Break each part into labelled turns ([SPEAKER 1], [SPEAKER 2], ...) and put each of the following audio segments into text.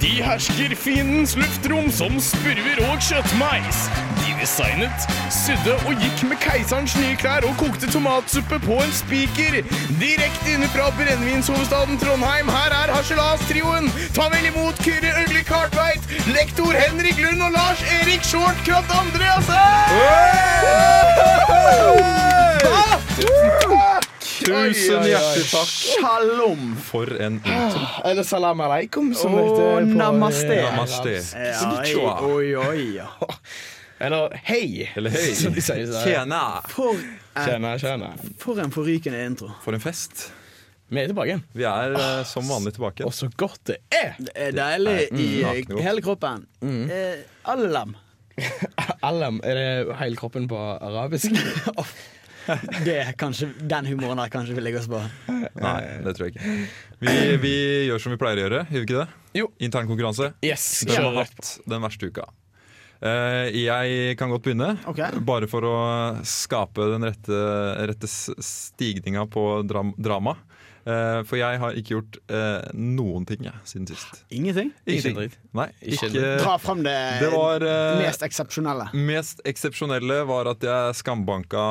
[SPEAKER 1] De hersker fiendens luftrom som spurver og kjøttmeis. De designet, sydde og gikk med keiserens nye klær og kokte tomatsuppe på en spiker. Direkte inne fra brennevinshovedstaden Trondheim, her er Harselas-trioen. Ta vel imot Kyrre Øgli Kartveit, lektor Henrik Lund og Lars Erik Short Kraft Andreassen!
[SPEAKER 2] Tusen hjertelig takk.
[SPEAKER 1] Shalom!
[SPEAKER 2] For en intro.
[SPEAKER 1] Eller salam aleikum, som
[SPEAKER 3] Åh,
[SPEAKER 1] det heter. på-
[SPEAKER 3] namaste.
[SPEAKER 2] Namaste.
[SPEAKER 3] Ja, ei,
[SPEAKER 2] Konnichiwa.
[SPEAKER 3] oi, oi, ja.
[SPEAKER 1] Eller hei,
[SPEAKER 2] Eller hei.
[SPEAKER 1] som de sier. så her.
[SPEAKER 2] Tjena.
[SPEAKER 3] For, eh,
[SPEAKER 1] Tjena, tjena.
[SPEAKER 3] for en forrykende intro.
[SPEAKER 2] For en fest.
[SPEAKER 1] Vi er tilbake igjen.
[SPEAKER 2] Vi er eh, som vanlig tilbake.
[SPEAKER 1] Og så godt det er!
[SPEAKER 3] Det er deilig i eh,
[SPEAKER 2] nakne ord.
[SPEAKER 3] hele kroppen. Eh, alle lem.
[SPEAKER 1] Alam, er det hele kroppen på arabisk?
[SPEAKER 3] Det er kanskje, den humoren der kanskje vi legger oss på.
[SPEAKER 2] Nei, det tror jeg ikke. Vi, vi gjør som vi pleier å gjøre, gjør vi ikke det?
[SPEAKER 1] Jo.
[SPEAKER 2] Intern konkurranse.
[SPEAKER 1] Yes.
[SPEAKER 2] Hvem
[SPEAKER 1] kjør
[SPEAKER 2] har
[SPEAKER 1] rett.
[SPEAKER 2] hatt den verste uka? Eh, jeg kan godt begynne,
[SPEAKER 3] Ok.
[SPEAKER 2] bare for å skape den rette, rette s- stigninga på dram drama. Eh, for jeg har ikke gjort eh, noen ting jeg, siden sist.
[SPEAKER 3] Ingenting.
[SPEAKER 1] Ikke en
[SPEAKER 2] Ingenting.
[SPEAKER 1] dritt.
[SPEAKER 2] Nei,
[SPEAKER 1] Ikke
[SPEAKER 2] ikke,
[SPEAKER 1] en dritt.
[SPEAKER 3] Dra fram det,
[SPEAKER 2] Eh, Det var eh,
[SPEAKER 3] mest eksepsjonelle.
[SPEAKER 2] Mest eksepsjonelle var at jeg skambanka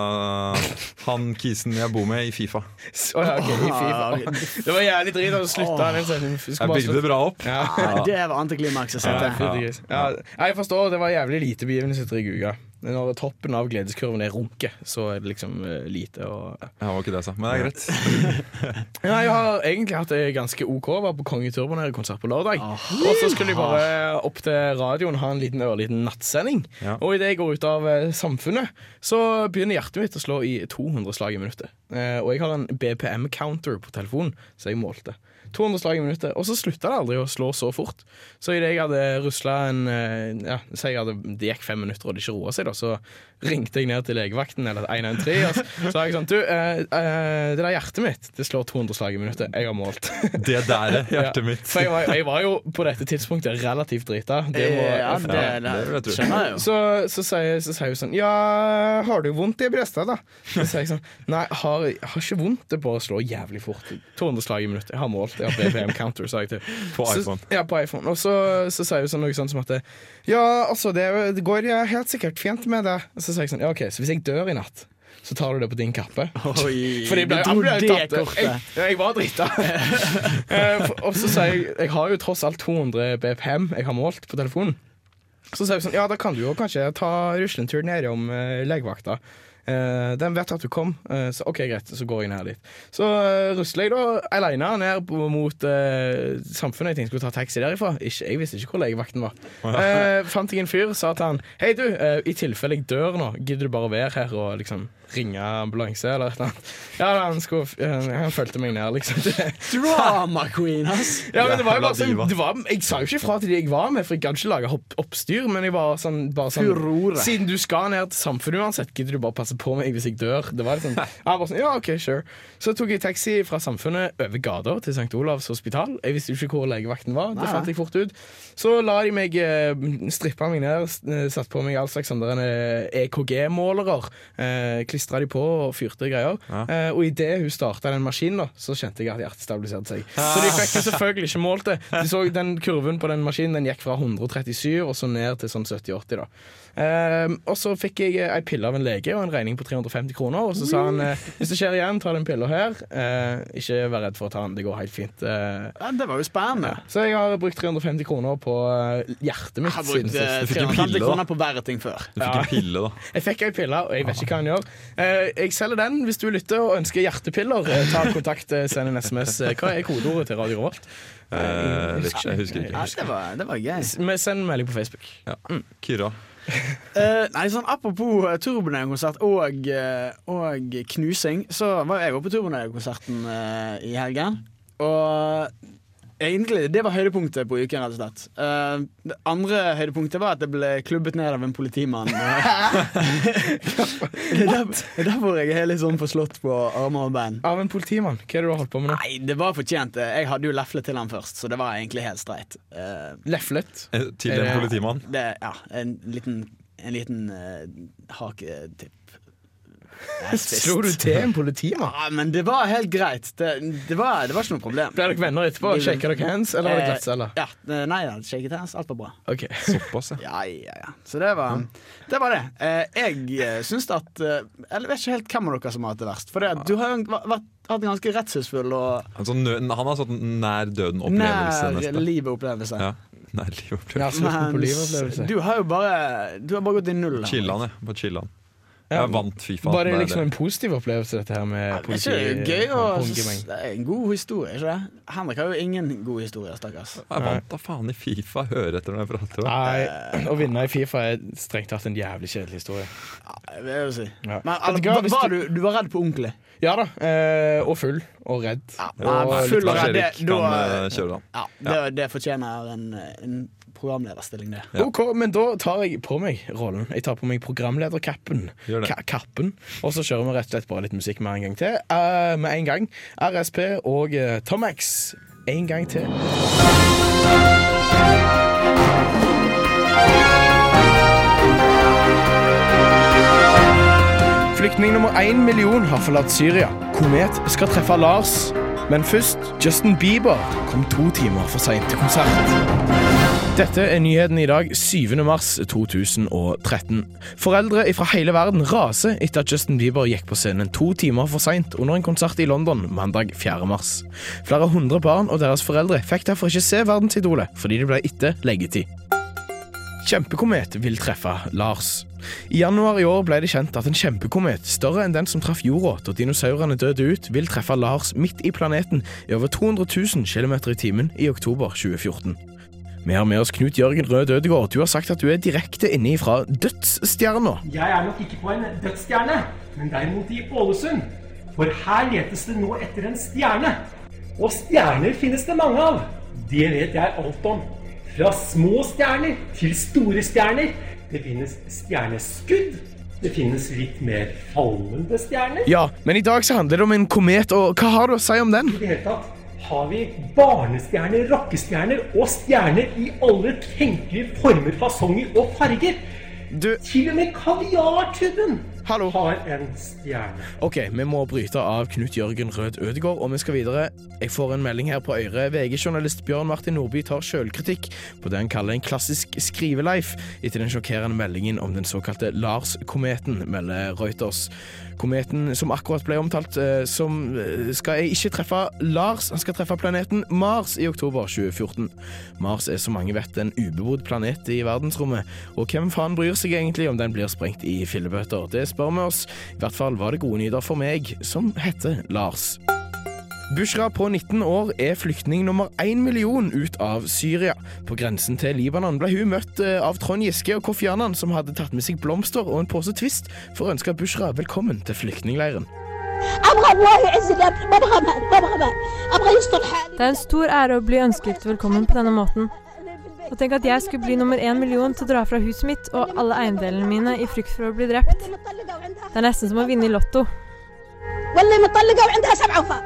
[SPEAKER 2] eh, han kisen jeg bor med i Fifa.
[SPEAKER 1] S- Å, ja, ok, i
[SPEAKER 3] Ah,
[SPEAKER 1] FIFA. Det var jævlig drit at du slutta den setningen. Vi skulle
[SPEAKER 2] Jeg
[SPEAKER 1] bare
[SPEAKER 2] bygde det
[SPEAKER 1] slutte.
[SPEAKER 2] bra opp.
[SPEAKER 1] Ja.
[SPEAKER 3] Ja, Det var antiklimaks å
[SPEAKER 1] Ja,
[SPEAKER 3] sette.
[SPEAKER 1] fytti gris. Ja, jeg forstår, det var jævlig lite begivenheter i uka. Når toppen av gledeskurven er runke, så er det liksom eh, lite å
[SPEAKER 2] Ja, det var ikke det jeg sa, men det er greit.
[SPEAKER 1] Ja, jeg har egentlig hatt det ganske OK. Var på Kongeturbo nede i konsert på lørdag. Og så skulle jeg bare eh, opp til radioen ha en liten ørliten nattsending.
[SPEAKER 2] Ja.
[SPEAKER 1] Og idet jeg går ut av eh, samfunnet, så begynner hjertet mitt å slå i 200 slag i minuttet. Eh, og jeg har en BPM-counter på telefonen, så jeg målte. 200 slag i minuttet. Og så slutta det aldri å slå så fort. Så idet jeg hadde rusla en eh, ja, Si jeg hadde, det gikk fem minutter, og det ikke roa seg, da, så ringte jeg ned til legevakten eller 113. Og så så sa jeg sånn Du, eh, eh, det der hjertet mitt, det slår 200 slag i minuttet. Jeg har målt.
[SPEAKER 2] Det der er hjertet mitt.
[SPEAKER 1] For jeg var, jeg var jo på dette tidspunktet relativt drita. Det må,
[SPEAKER 3] ja,
[SPEAKER 2] Ja,
[SPEAKER 3] det, det,
[SPEAKER 2] det vil jeg tro.
[SPEAKER 3] skjønner jeg jo.
[SPEAKER 1] så, så, sier, så sier hun sånn Ja, har du vondt i brystet, da? Så sier jeg sånn Nei, har, har ikke vondt. Det bare slår jævlig fort. 200 slag i minuttet. Jeg har målt. Jeg har BPM counter, sa jeg til
[SPEAKER 2] På
[SPEAKER 1] Så-
[SPEAKER 2] iPhone.
[SPEAKER 1] Ja, på iPhone. Og så, så sier hun sånn noe sånn som at Ja, altså, det, det går ja, helt sikkert fint med det. Og så sier jeg sånn Ja, OK, så hvis jeg dør i natt, så tar du det på din kappe?
[SPEAKER 3] Oi,
[SPEAKER 1] Fordi jeg ble,
[SPEAKER 3] du
[SPEAKER 1] jeg
[SPEAKER 3] dro
[SPEAKER 1] ble
[SPEAKER 3] det
[SPEAKER 1] tatt, jeg,
[SPEAKER 3] kortet.
[SPEAKER 1] jeg var drita. Eh, for- og så sier jeg Jeg har jo tross alt 200 BPM jeg har målt på telefonen. Så sier jeg sånn Ja, da kan du jo kanskje ta ruslentur nedom uh, legevakta. Eh, den vet at du kom, eh, så OK, greit, så går jeg ned dit. Så uh, rusler jeg da aleine ned på- mot eh, samfunnet. Jeg tenkte jeg skulle ta taxi derifra. Ikke, jeg visste ikke hvor legevakten var. Eh, fant jeg en fyr, sa til han Hei, du, eh, i tilfelle jeg dør nå, gidder du bare være her og liksom ringe ambulanse eller et eller annet? Ja, da, han, skulle, eh, han fulgte meg ned, liksom.
[SPEAKER 3] Drama queen, ass.
[SPEAKER 1] Ja, men det var jo
[SPEAKER 2] Jævla
[SPEAKER 1] bare sånn
[SPEAKER 2] diva.
[SPEAKER 1] det var, Jeg sa jo ikke fra til de jeg var med, for jeg gadd ikke lage hopp, oppstyr. Men jeg var sånn, bare sånn
[SPEAKER 3] Furore.
[SPEAKER 1] Siden du skal ned til samfunnet uansett, gidder du bare passe på meg hvis jeg dør? Det var litt sånn, jeg bare sånn, ja, ok, sure Så tok jeg taxi fra Samfunnet over gata til St. Olavs hospital. Jeg visste jo ikke hvor legevakten var. Det
[SPEAKER 3] Nei.
[SPEAKER 1] fant jeg fort ut. Så la de meg eh, strippe meg ned, s- eh, satt på meg all slags eh, sånne EKG-målere. Eh, Klistra de på og fyrte greier.
[SPEAKER 2] Ja.
[SPEAKER 1] Eh, og idet hun starta den maskinen, da, så kjente jeg at hjertet stabiliserte seg.
[SPEAKER 3] Ah.
[SPEAKER 1] Så de fikk jo selvfølgelig ikke målt det. De så den kurven på den maskinen Den gikk fra 137 og så ned til sånn 70-80. da Ehm, Og så fikk jeg eh, ei pille av en lege og en regning på 350 kroner. Og så sa han eh, hvis det skjer igjen, ta den pilla her. Eh, ikke vær redd for å ta den, det går helt fint. Eh,
[SPEAKER 3] Ja, det var jo spennende.
[SPEAKER 1] så jeg har brukt 350 kroner på eh, hjertet
[SPEAKER 3] Jeg
[SPEAKER 1] mitt
[SPEAKER 3] har
[SPEAKER 1] siden
[SPEAKER 3] brukt
[SPEAKER 1] sist.
[SPEAKER 3] eh,
[SPEAKER 2] Du fikk en
[SPEAKER 3] 350
[SPEAKER 2] pille, da.
[SPEAKER 3] kroner på verre ting før.
[SPEAKER 2] Du fikk en pille, da.
[SPEAKER 1] Jeg fikk ei pille, og jeg vet ikke hva han gjør. Eh, jeg selger den hvis du lytter og ønsker hjertepiller. Eh, ta kontakt, eh, send en SMS. Eh, Hva er kodeordet til Radio Revolt?
[SPEAKER 2] Eh, jeg husker- jeg husker ikke.
[SPEAKER 3] Ja, det var, det var gøy.
[SPEAKER 1] Men Send en melding på Facebook.
[SPEAKER 2] Ja. Kyrra.
[SPEAKER 3] Eh, nei, sånn Apropos uh, Turboneon-konsert og, eh, og knusing, så var jo jeg også på Turboneon-konserten eh, i helgen. Og egentlig det var høydepunktet på uken, rett og slett. Eh, det andre høydepunktet var at jeg ble klubbet ned av en politimann. det er der- det er derfor jeg er litt sånn forslått på armer og bein.
[SPEAKER 1] Av en politimann. Hva er det du har holdt på med nå?
[SPEAKER 3] Nei, det var fortjent. Jeg hadde jo leflet til han først, så det var egentlig helt streit. Eh,
[SPEAKER 1] Leflet.
[SPEAKER 2] Eh, Til en
[SPEAKER 1] Eh,
[SPEAKER 2] politimann.
[SPEAKER 3] det, ja, en liten, en liten eh, haketipp.
[SPEAKER 1] Slo du til en politimann?
[SPEAKER 3] Ja, men det var helt greit. Det, det, var, det var ikke noe problem.
[SPEAKER 1] Ble dere venner etterpå? Shaker dere hands, eller var det
[SPEAKER 3] Eh,
[SPEAKER 1] glattcelle?
[SPEAKER 3] Ja, det- nei, jeg hadde shaket hands. Alt var bra.
[SPEAKER 1] Ok.
[SPEAKER 2] Såpass, ja.
[SPEAKER 3] Ja, ja, ja. Så det var det. Var det. Eh, Jeg eh, syns at eh, Jeg vet ikke helt hvem av dere som har hatt det verst. For det, at du har jo vært- hatt en ganske redselsfull og
[SPEAKER 2] Altså, nø- han har sånn nær døden-opplevelse.
[SPEAKER 3] nær
[SPEAKER 2] nesten.
[SPEAKER 3] livet-opplevelse.
[SPEAKER 2] Ja, nær liv-opplevelse.
[SPEAKER 1] Ja, slutten på livet-opplevelse.
[SPEAKER 3] du har jo bare Du har bare gått i null.
[SPEAKER 2] Chillan, jeg. Bare chillan. Jeg vant Fifa.
[SPEAKER 1] Bare
[SPEAKER 2] Nei, det-
[SPEAKER 1] liksom en positiv opplevelse, dette her med
[SPEAKER 3] Er
[SPEAKER 1] politi.
[SPEAKER 3] ikke det gøy å
[SPEAKER 1] og håndgemeng.
[SPEAKER 3] Det er en god historie, ikke det? Henrik har jo ingen gode historier, stakkars.
[SPEAKER 2] Jeg vant da faen i Fifa. Hør etter når jeg prater. da.
[SPEAKER 1] Nei,
[SPEAKER 3] Eh.
[SPEAKER 1] å vinne i Fifa er strengt tatt en jævlig kjedelig historie.
[SPEAKER 3] Ja, det vil jeg jo si.
[SPEAKER 1] Ja.
[SPEAKER 3] Men
[SPEAKER 1] Vet
[SPEAKER 3] eller,
[SPEAKER 1] du hva,
[SPEAKER 3] var,
[SPEAKER 1] hvis
[SPEAKER 3] var
[SPEAKER 1] du-
[SPEAKER 3] du, du var redd på onkelen?
[SPEAKER 1] Ja da. Eh, og full. Og redd.
[SPEAKER 3] nei,
[SPEAKER 1] og
[SPEAKER 3] full
[SPEAKER 1] litt
[SPEAKER 3] av
[SPEAKER 2] Lars
[SPEAKER 1] redd.
[SPEAKER 3] redd.
[SPEAKER 2] Erik kan
[SPEAKER 3] det- da-
[SPEAKER 2] eh, kjøre den.
[SPEAKER 3] Ja, det, det fortjener en, en programlederstilling, det.
[SPEAKER 2] Ja.
[SPEAKER 1] OK, men da tar jeg på meg rollen. Jeg tar på meg programlederkappen.
[SPEAKER 2] Gjør det.
[SPEAKER 1] Ka kappen. Og så kjører vi rett og slett bare litt musikk med en gang til. Eh, med en gang. RSP og eh, Tom X en gang til. Flyktning nummer én million har forlatt Syria. Komet skal treffe Lars. Men først, Justin Bieber kom to timer for seint til konsert. Dette er nyheten i dag, 7. mars 2013. Foreldre fra hele verden raser etter at Justin Bieber gikk på scenen to timer for seint under en konsert i London mandag 4. mars. Flere hundre barn og deres foreldre fikk derfor ikke se verdensidolet fordi det ble etter leggetid. Kjempekomet vil treffe Lars. I januar i år ble det kjent at en kjempekomet, større enn den som traff jorda da dinosaurene døde ut, vil treffe Lars midt i planeten i over 200 000 km i timen i oktober 2014. Vi har med oss Knut Jørgen Rød Ødegård. Du har sagt at du er direkte inne ifra dødsstjerna.
[SPEAKER 4] Jeg er nok ikke på en dødsstjerne, men derimot i Ålesund. For her letes det nå etter en stjerne. Og stjerner finnes det mange av. Det vet jeg alt om. Fra små stjerner til store stjerner. Det finnes stjerneskudd. Det finnes litt mer fallende stjerner.
[SPEAKER 1] Ja, men i dag så handler det om en komet, og hva har du å si om den?
[SPEAKER 4] I det hele tatt har vi barnestjerner, rockestjerner og stjerner i alle tenkelige former, fasonger og farger.
[SPEAKER 1] Du,
[SPEAKER 4] Til og med kaviartuben
[SPEAKER 1] hallo.
[SPEAKER 4] har en stjerne.
[SPEAKER 1] Ok, vi må bryte av Knut Jørgen Rød Ødegård, og vi skal videre. Jeg får en melding her på øret. VG-journalist Bjørn Martin Nordby tar sjølkritikk på det han kaller en klassisk skriveleif etter den sjokkerende meldingen om den såkalte Lars-kometen, melder Reuters. Kometen som akkurat ble omtalt, eh, som eh, skal jeg ikke treffe Lars, han skal treffe planeten Mars i oktober 2014. Mars er som mange vet en ubebodd planet i verdensrommet, og hvem faen bryr seg egentlig om den blir sprengt i fillebøtter? Det spør vi oss. I hvert fall var det gode nyheter for meg, som heter Lars. Bushra på 19 år er flyktning nummer 1 million ut av Syria. På grensen til Libanon ble hun møtt eh, av Trond Giske og Kofi Annan, som hadde tatt med seg blomster og en pose Twist for å ønske Bushra velkommen til flyktningleiren.
[SPEAKER 5] ابغى الله يعز الابد ما ابغى مال ما ابغى مال ابغى يصلح حالي
[SPEAKER 6] Det er en stor ære å bli ønsket velkommen på denne måten. Og tenk at jeg skulle bli nummer én million til å dra fra huset mitt og alle eiendelene mine i frykt for å bli drept.
[SPEAKER 5] واللي مطلقه وعندها
[SPEAKER 6] Det er nesten som å vinne i Lotto.
[SPEAKER 5] واللي مطلقه وعندها سبع اوفار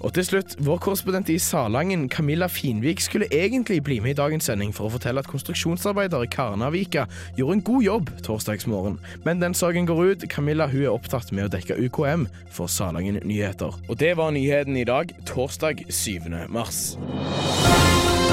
[SPEAKER 1] Og til slutt, vår korrespondent i Salangen, Camilla Finvik, skulle egentlig bli med i dagens sending for å fortelle at konstruksjonsarbeider i Karnavika gjorde en god jobb torsdagsmorgen. Men den saken går ut. Camilla hun er opptatt med å dekke UKM for Salangen Nyheter. Og det var nyheten i dag, torsdag 7. mars.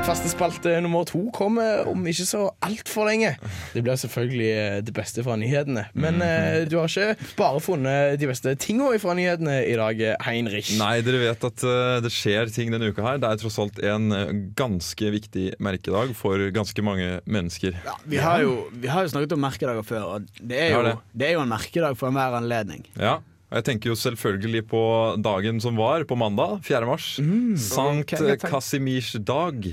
[SPEAKER 1] Faste spalte nummer to kommer om ikke så altfor lenge. Det blir selvfølgelig eh, det beste fra nyhetene. Men eh, du har ikke bare funnet de beste tinga fra nyhetene i dag, eh, Heinrich.
[SPEAKER 2] Nei, dere vet at eh, det skjer ting denne uka her. Det er tross alt en eh, ganske viktig merkedag for ganske mange mennesker.
[SPEAKER 3] Ja, vi, har jo, vi har jo snakket om merkedager før, og det er
[SPEAKER 2] Vi
[SPEAKER 3] jo,
[SPEAKER 2] har det.
[SPEAKER 3] det er jo en merkedag for enhver anledning.
[SPEAKER 2] Ja, og jeg tenker jo selvfølgelig på dagen som var, på mandag, 4. mars.
[SPEAKER 1] Mm,
[SPEAKER 2] Sankt
[SPEAKER 1] Ok, takk.
[SPEAKER 2] Kasimirs dag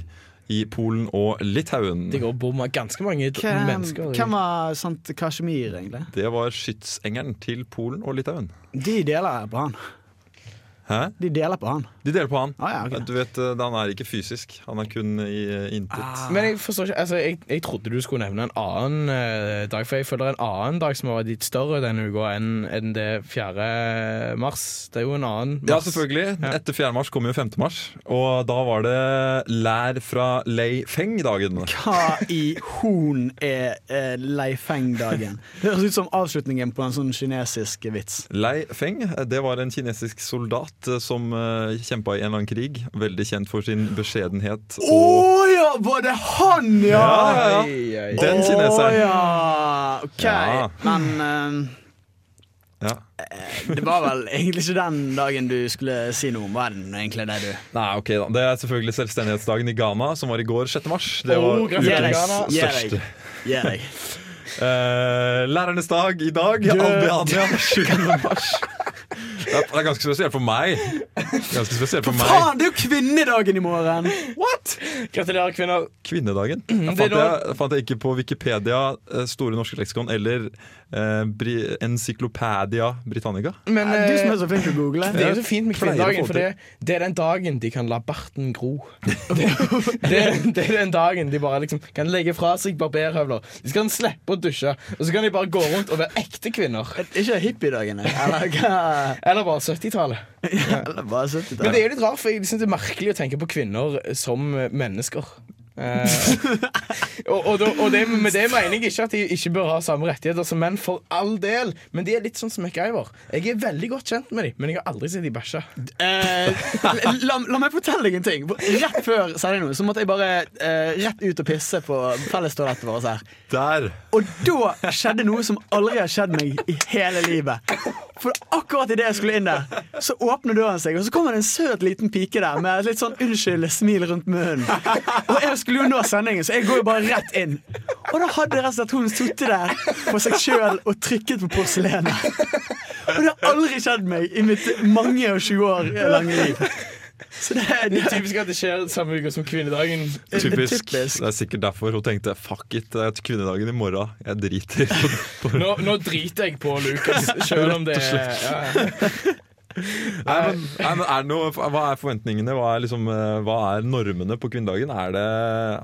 [SPEAKER 2] i Polen og Litauen.
[SPEAKER 1] Det går bom av ganske mange d-
[SPEAKER 3] Hvem,
[SPEAKER 1] mennesker.
[SPEAKER 3] hvem var Sant Kashmir, egentlig?
[SPEAKER 2] Det var skytsengelen til Polen og Litauen.
[SPEAKER 3] De deler jeg på han.
[SPEAKER 2] Hæ?
[SPEAKER 3] De deler på han.
[SPEAKER 2] De deler på han.
[SPEAKER 3] Ah, ja, ok.
[SPEAKER 2] Du vet, eh, Han er ikke fysisk, han er kun i eh, intet.
[SPEAKER 1] Men jeg forstår ikke altså, jeg, jeg trodde du skulle nevne en annen eh, dag, for jeg føler en annen dag som har vært litt større denne uka enn enn det 4. mars. Det er jo en annen mars.
[SPEAKER 2] Ja, selvfølgelig.
[SPEAKER 1] Ja.
[SPEAKER 2] Etter 4. mars kom jo 5. mars, og da var det lær fra Lei Feng-dagen.
[SPEAKER 3] Hva i horn er eh, Leifeng-dagen? Det høres ut som avslutningen på en sånn kinesisk vits.
[SPEAKER 2] Lei Feng det var en kinesisk soldat eh, som eh, kjempa i en eller annen krig. Veldig kjent for sin beskjedenhet.
[SPEAKER 3] Å
[SPEAKER 2] Og
[SPEAKER 3] ja! Var det han, Oh. ja?
[SPEAKER 2] Ja, ja, ja.
[SPEAKER 1] Ei, ei, ei.
[SPEAKER 2] Den
[SPEAKER 3] Å
[SPEAKER 2] kineseren.
[SPEAKER 3] ja. OK.
[SPEAKER 2] Ja.
[SPEAKER 3] Men
[SPEAKER 2] Ja.
[SPEAKER 3] eh, det var vel egentlig ikke den dagen du skulle si noe om verden, egentlig, det du
[SPEAKER 2] Nei, ok da. Det er selvfølgelig selvstendighetsdagen i Ghana, som var i går 6. mars. Det
[SPEAKER 1] Oh,
[SPEAKER 2] var
[SPEAKER 1] gratulerer,
[SPEAKER 2] ukens
[SPEAKER 1] Ghana.
[SPEAKER 3] Gi deg.
[SPEAKER 2] største.
[SPEAKER 3] Gi deg.
[SPEAKER 2] Eh, lærernes dag i dag. Albania 7. mars. Det er det er ganske spesielt for meg. Ganske spesielt for meg.
[SPEAKER 3] Faen, det er jo kvinnedagen i morgen!
[SPEAKER 1] What?! Gratulerer, kvinner.
[SPEAKER 2] Kvinnedagen. Jeg
[SPEAKER 1] det
[SPEAKER 2] fant
[SPEAKER 1] er
[SPEAKER 2] jeg, fant jeg ikke på Wikipedia, eh, Store norske leksikon eller eh, Bri Encyclopedia Britannica.
[SPEAKER 1] Men
[SPEAKER 3] Du som
[SPEAKER 1] eh,
[SPEAKER 3] er så flink til å google.
[SPEAKER 1] det er jo så fint med
[SPEAKER 2] Pleier å
[SPEAKER 1] kvinnedagen,
[SPEAKER 2] få
[SPEAKER 1] for det, det er den dagen de kan la barten gro. Det, det, det er den dagen de bare liksom kan legge fra seg barberhøvler. De skal slippe å dusje, og så kan de bare gå rundt og være ekte kvinner.
[SPEAKER 3] Er det Ikke hippiedagen, jeg. eller hva?
[SPEAKER 1] Eller bare 70-tallet.
[SPEAKER 3] Eller bare
[SPEAKER 1] Men det
[SPEAKER 3] 70-tallet.
[SPEAKER 1] er jo litt rart, for jeg synes det er merkelig å tenke på kvinner som mennesker. Eh, og, og, da- og det, med det mener jeg ikke at de ikke bør ha samme rettigheter som menn, for all del. Men de er litt sånn som MacGyver. Jeg er veldig godt kjent med dem, men jeg har aldri sett de bæsje.
[SPEAKER 3] Eh, la, la meg fortelle deg en ting. Rett før sendingen så måtte jeg bare eh, rett ut og pisse på fellestoalettet vårt her.
[SPEAKER 2] Der!
[SPEAKER 3] Og da skjedde noe som aldri har skjedd meg i hele livet. For akkurat idet jeg skulle inn der, så åpner døren seg, og så kommer det en søt liten pike der med et litt sånn unnskyld smil rundt munnen. Og jeg skulle jo nå sendingen, så jeg går jo bare rett inn. Og da hadde rett og slett hun sittet der for seg sjøl og trykket på porselenet. Og det har aldri skjedd meg i mitt mange og 20 år lange liv. Så det er
[SPEAKER 1] Det er typisk at det skjer samme uke som kvinnedagen.
[SPEAKER 2] Typisk.
[SPEAKER 3] Typisk.
[SPEAKER 2] Det er sikkert derfor hun tenkte fuck it, det er kvinnedagen i morgen. Jeg driter. på- på-
[SPEAKER 1] Nå, nå driter jeg på Lucas, sjøl om det er ja.
[SPEAKER 2] Nei, men, nei, men er det noe, hva er forventningene? Hva er, liksom, eh, hva er normene på kvinnedagen? Er det,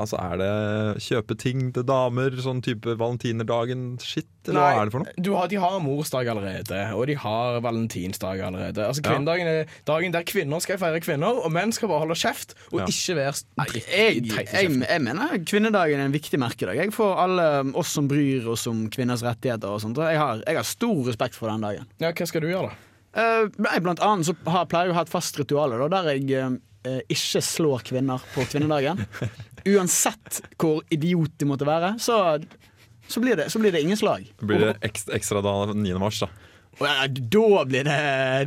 [SPEAKER 2] altså, er det kjøpe ting til damer, sånn type valentinerdagen-shit? Eller hva er det for noe?
[SPEAKER 1] Du har, de har morsdag allerede, og de har valentinsdag allerede. Altså Kvinnedagen er dagen der kvinner skal feire kvinner, og menn skal bare holde kjeft og
[SPEAKER 2] Ja.
[SPEAKER 1] ikke være s- dritt-
[SPEAKER 3] jeg,
[SPEAKER 1] teite
[SPEAKER 3] jeg, jeg mener kvinnedagen er en viktig merkedag. Jeg får alle oss som bryr oss om kvinners rettigheter og sånt. og Jeg har, jeg har stor respekt for den dagen.
[SPEAKER 1] Ja, hva skal du gjøre, da?
[SPEAKER 3] Eh, nei, blant annet så har, pleier jeg å ha et fast ritual da, der jeg eh, ikke slår kvinner på kvinnedagen. Uansett hvor idiot de måtte være, så, så, blir, det, så blir det ingen slag.
[SPEAKER 2] Blir det ekstra, ekstra da 9. mars, da?
[SPEAKER 3] Og, ja, da blir det,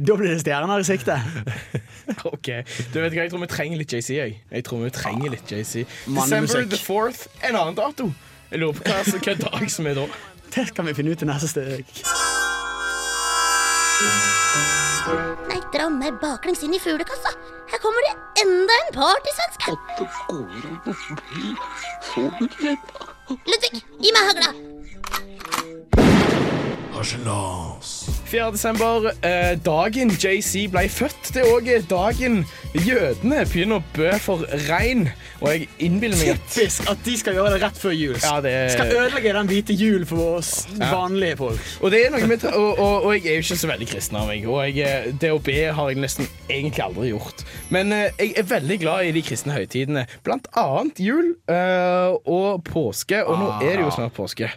[SPEAKER 3] da blir det stjerner i sikte.
[SPEAKER 1] Ok, du vet hva, Jeg tror vi trenger litt JC. Jeg Jeg tror vi trenger litt JC
[SPEAKER 3] Ah,
[SPEAKER 1] December
[SPEAKER 3] mannemusikk.
[SPEAKER 1] the 4th, en annen dato. Jeg lurer på hva, altså, hva dag som er da.
[SPEAKER 3] Det kan vi finne ut i neste steg.
[SPEAKER 5] Nei, dra meg baklengs inn i fuglekassa. Her kommer det enda en partysvenske. Ludvig, gi meg hagla.
[SPEAKER 1] 4. desember, eh, dagen JC ble født. Det er òg dagen jødene begynner å bø for regn. Og jeg innbiller meg at
[SPEAKER 3] Typisk at de skal gjøre det rett før jul.
[SPEAKER 1] Ja, eh, det-
[SPEAKER 3] Skal ødelegge den hvite jul for oss vanlige folk.
[SPEAKER 1] Og det er noe med, og, og, og jeg er jo ikke så veldig kristen av meg, og jeg, eh, det å be har jeg nesten egentlig aldri gjort. Men eh, jeg er veldig glad i de kristne høytidene, blant annet jul eh, og påske, og nå er det jo snart påske.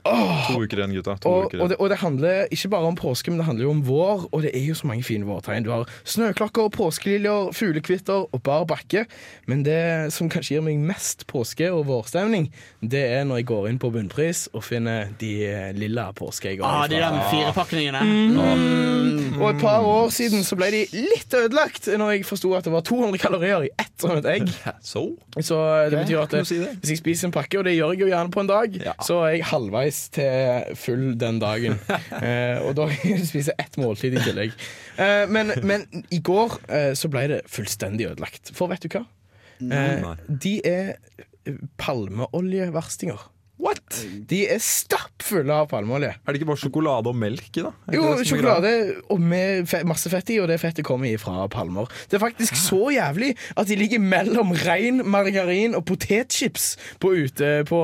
[SPEAKER 2] To uker igjen, gutta. To
[SPEAKER 1] Og,
[SPEAKER 2] uker
[SPEAKER 1] og,
[SPEAKER 2] igjen.
[SPEAKER 1] det, og det handler ikke bare om påske, men det handler jo om vår, og det er jo så mange fine vårtegn. Du har snøklokker, påskeliljer, fuglekvitter og bar bakke. Men det som kanskje gir meg mest påske- og vårstemning, det er når jeg går inn på Bunnpris og finner de eh, lilla påskeeggene.
[SPEAKER 3] Ah, de
[SPEAKER 1] fra- Mm.
[SPEAKER 3] der med firepakningene.
[SPEAKER 1] Og et par år siden så ble de litt ødelagt når jeg forsto at det var 200 kalorier i ett sånt egg.
[SPEAKER 2] Så?
[SPEAKER 1] Så det
[SPEAKER 2] Ok,
[SPEAKER 1] betyr at
[SPEAKER 2] kan du si det?
[SPEAKER 1] hvis jeg spiser en pakke, og det gjør jeg jo gjerne på en dag,
[SPEAKER 2] Ja.
[SPEAKER 1] så er jeg halvveis til full den dagen. Eh, og da spiser jeg ett måltid i tillegg. Eh, men, men i går eh, så ble det fullstendig ødelagt. For vet du hva? Eh,
[SPEAKER 2] Nei.
[SPEAKER 1] de er palmeoljeverstinger.
[SPEAKER 2] What?
[SPEAKER 1] De er stappfulle av palmeolje.
[SPEAKER 2] Er det ikke bare sjokolade og melk i, da? Er ikke
[SPEAKER 1] Jo,
[SPEAKER 2] det som er greia?
[SPEAKER 1] sjokolade og med fe masse fett i, og det fettet kommer ifra palmer. Det er faktisk så jævlig at de ligger mellom rein margarin og potetchips på, ute på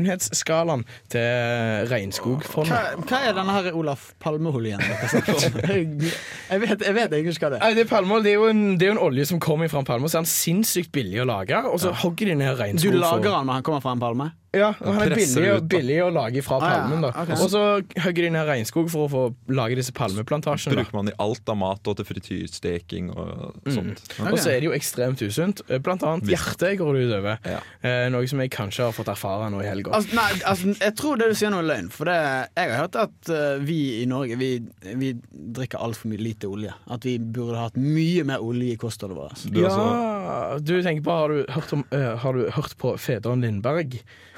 [SPEAKER 1] usunnhetsskalaen til
[SPEAKER 3] Hva,
[SPEAKER 1] Regnskogfondet.
[SPEAKER 3] hva er denne her Olaf Palmeoljen dere snakker om? Jeg, jeg vet jeg vet egentlig ikke hva det er.
[SPEAKER 1] Nei, det, er palmeolje, det, er jo en, det er jo en olje som kommer fra en palme, og så er den sinnssykt billig å lage. Og så hogger de ned
[SPEAKER 3] Du
[SPEAKER 1] regnskog. for-
[SPEAKER 3] lager han når han kommer fra en palme?
[SPEAKER 1] Ja, og han er
[SPEAKER 2] presser
[SPEAKER 1] billig,
[SPEAKER 2] det
[SPEAKER 1] og
[SPEAKER 2] ut, da.
[SPEAKER 1] billig å lage fra
[SPEAKER 3] Ah, ja,
[SPEAKER 1] palmen. da
[SPEAKER 3] ok.
[SPEAKER 1] Og så hogger de ned regnskog for å få lage disse palmeplantasjene. da.
[SPEAKER 2] Bruker man i alt av mat og til frityrsteking og sånt.
[SPEAKER 1] Og så er det jo ekstremt usunt. Eh, Blant annet hjertet går det utover.
[SPEAKER 2] Ja.
[SPEAKER 1] Eh, noe som jeg kanskje har fått erfare nå i helga.
[SPEAKER 3] Altså, nei, altså, jeg tror det du sier nå er løgn. For det, jeg har hørt at eh, vi i Norge Vi, vi drikker altfor lite olje. At vi burde hatt mye mer olje i kostholdet vårt.
[SPEAKER 2] Du altså-
[SPEAKER 1] Ja,
[SPEAKER 2] også-
[SPEAKER 1] du tenker på Har du hørt, om, eh, har du hørt på Fedren Lindberg?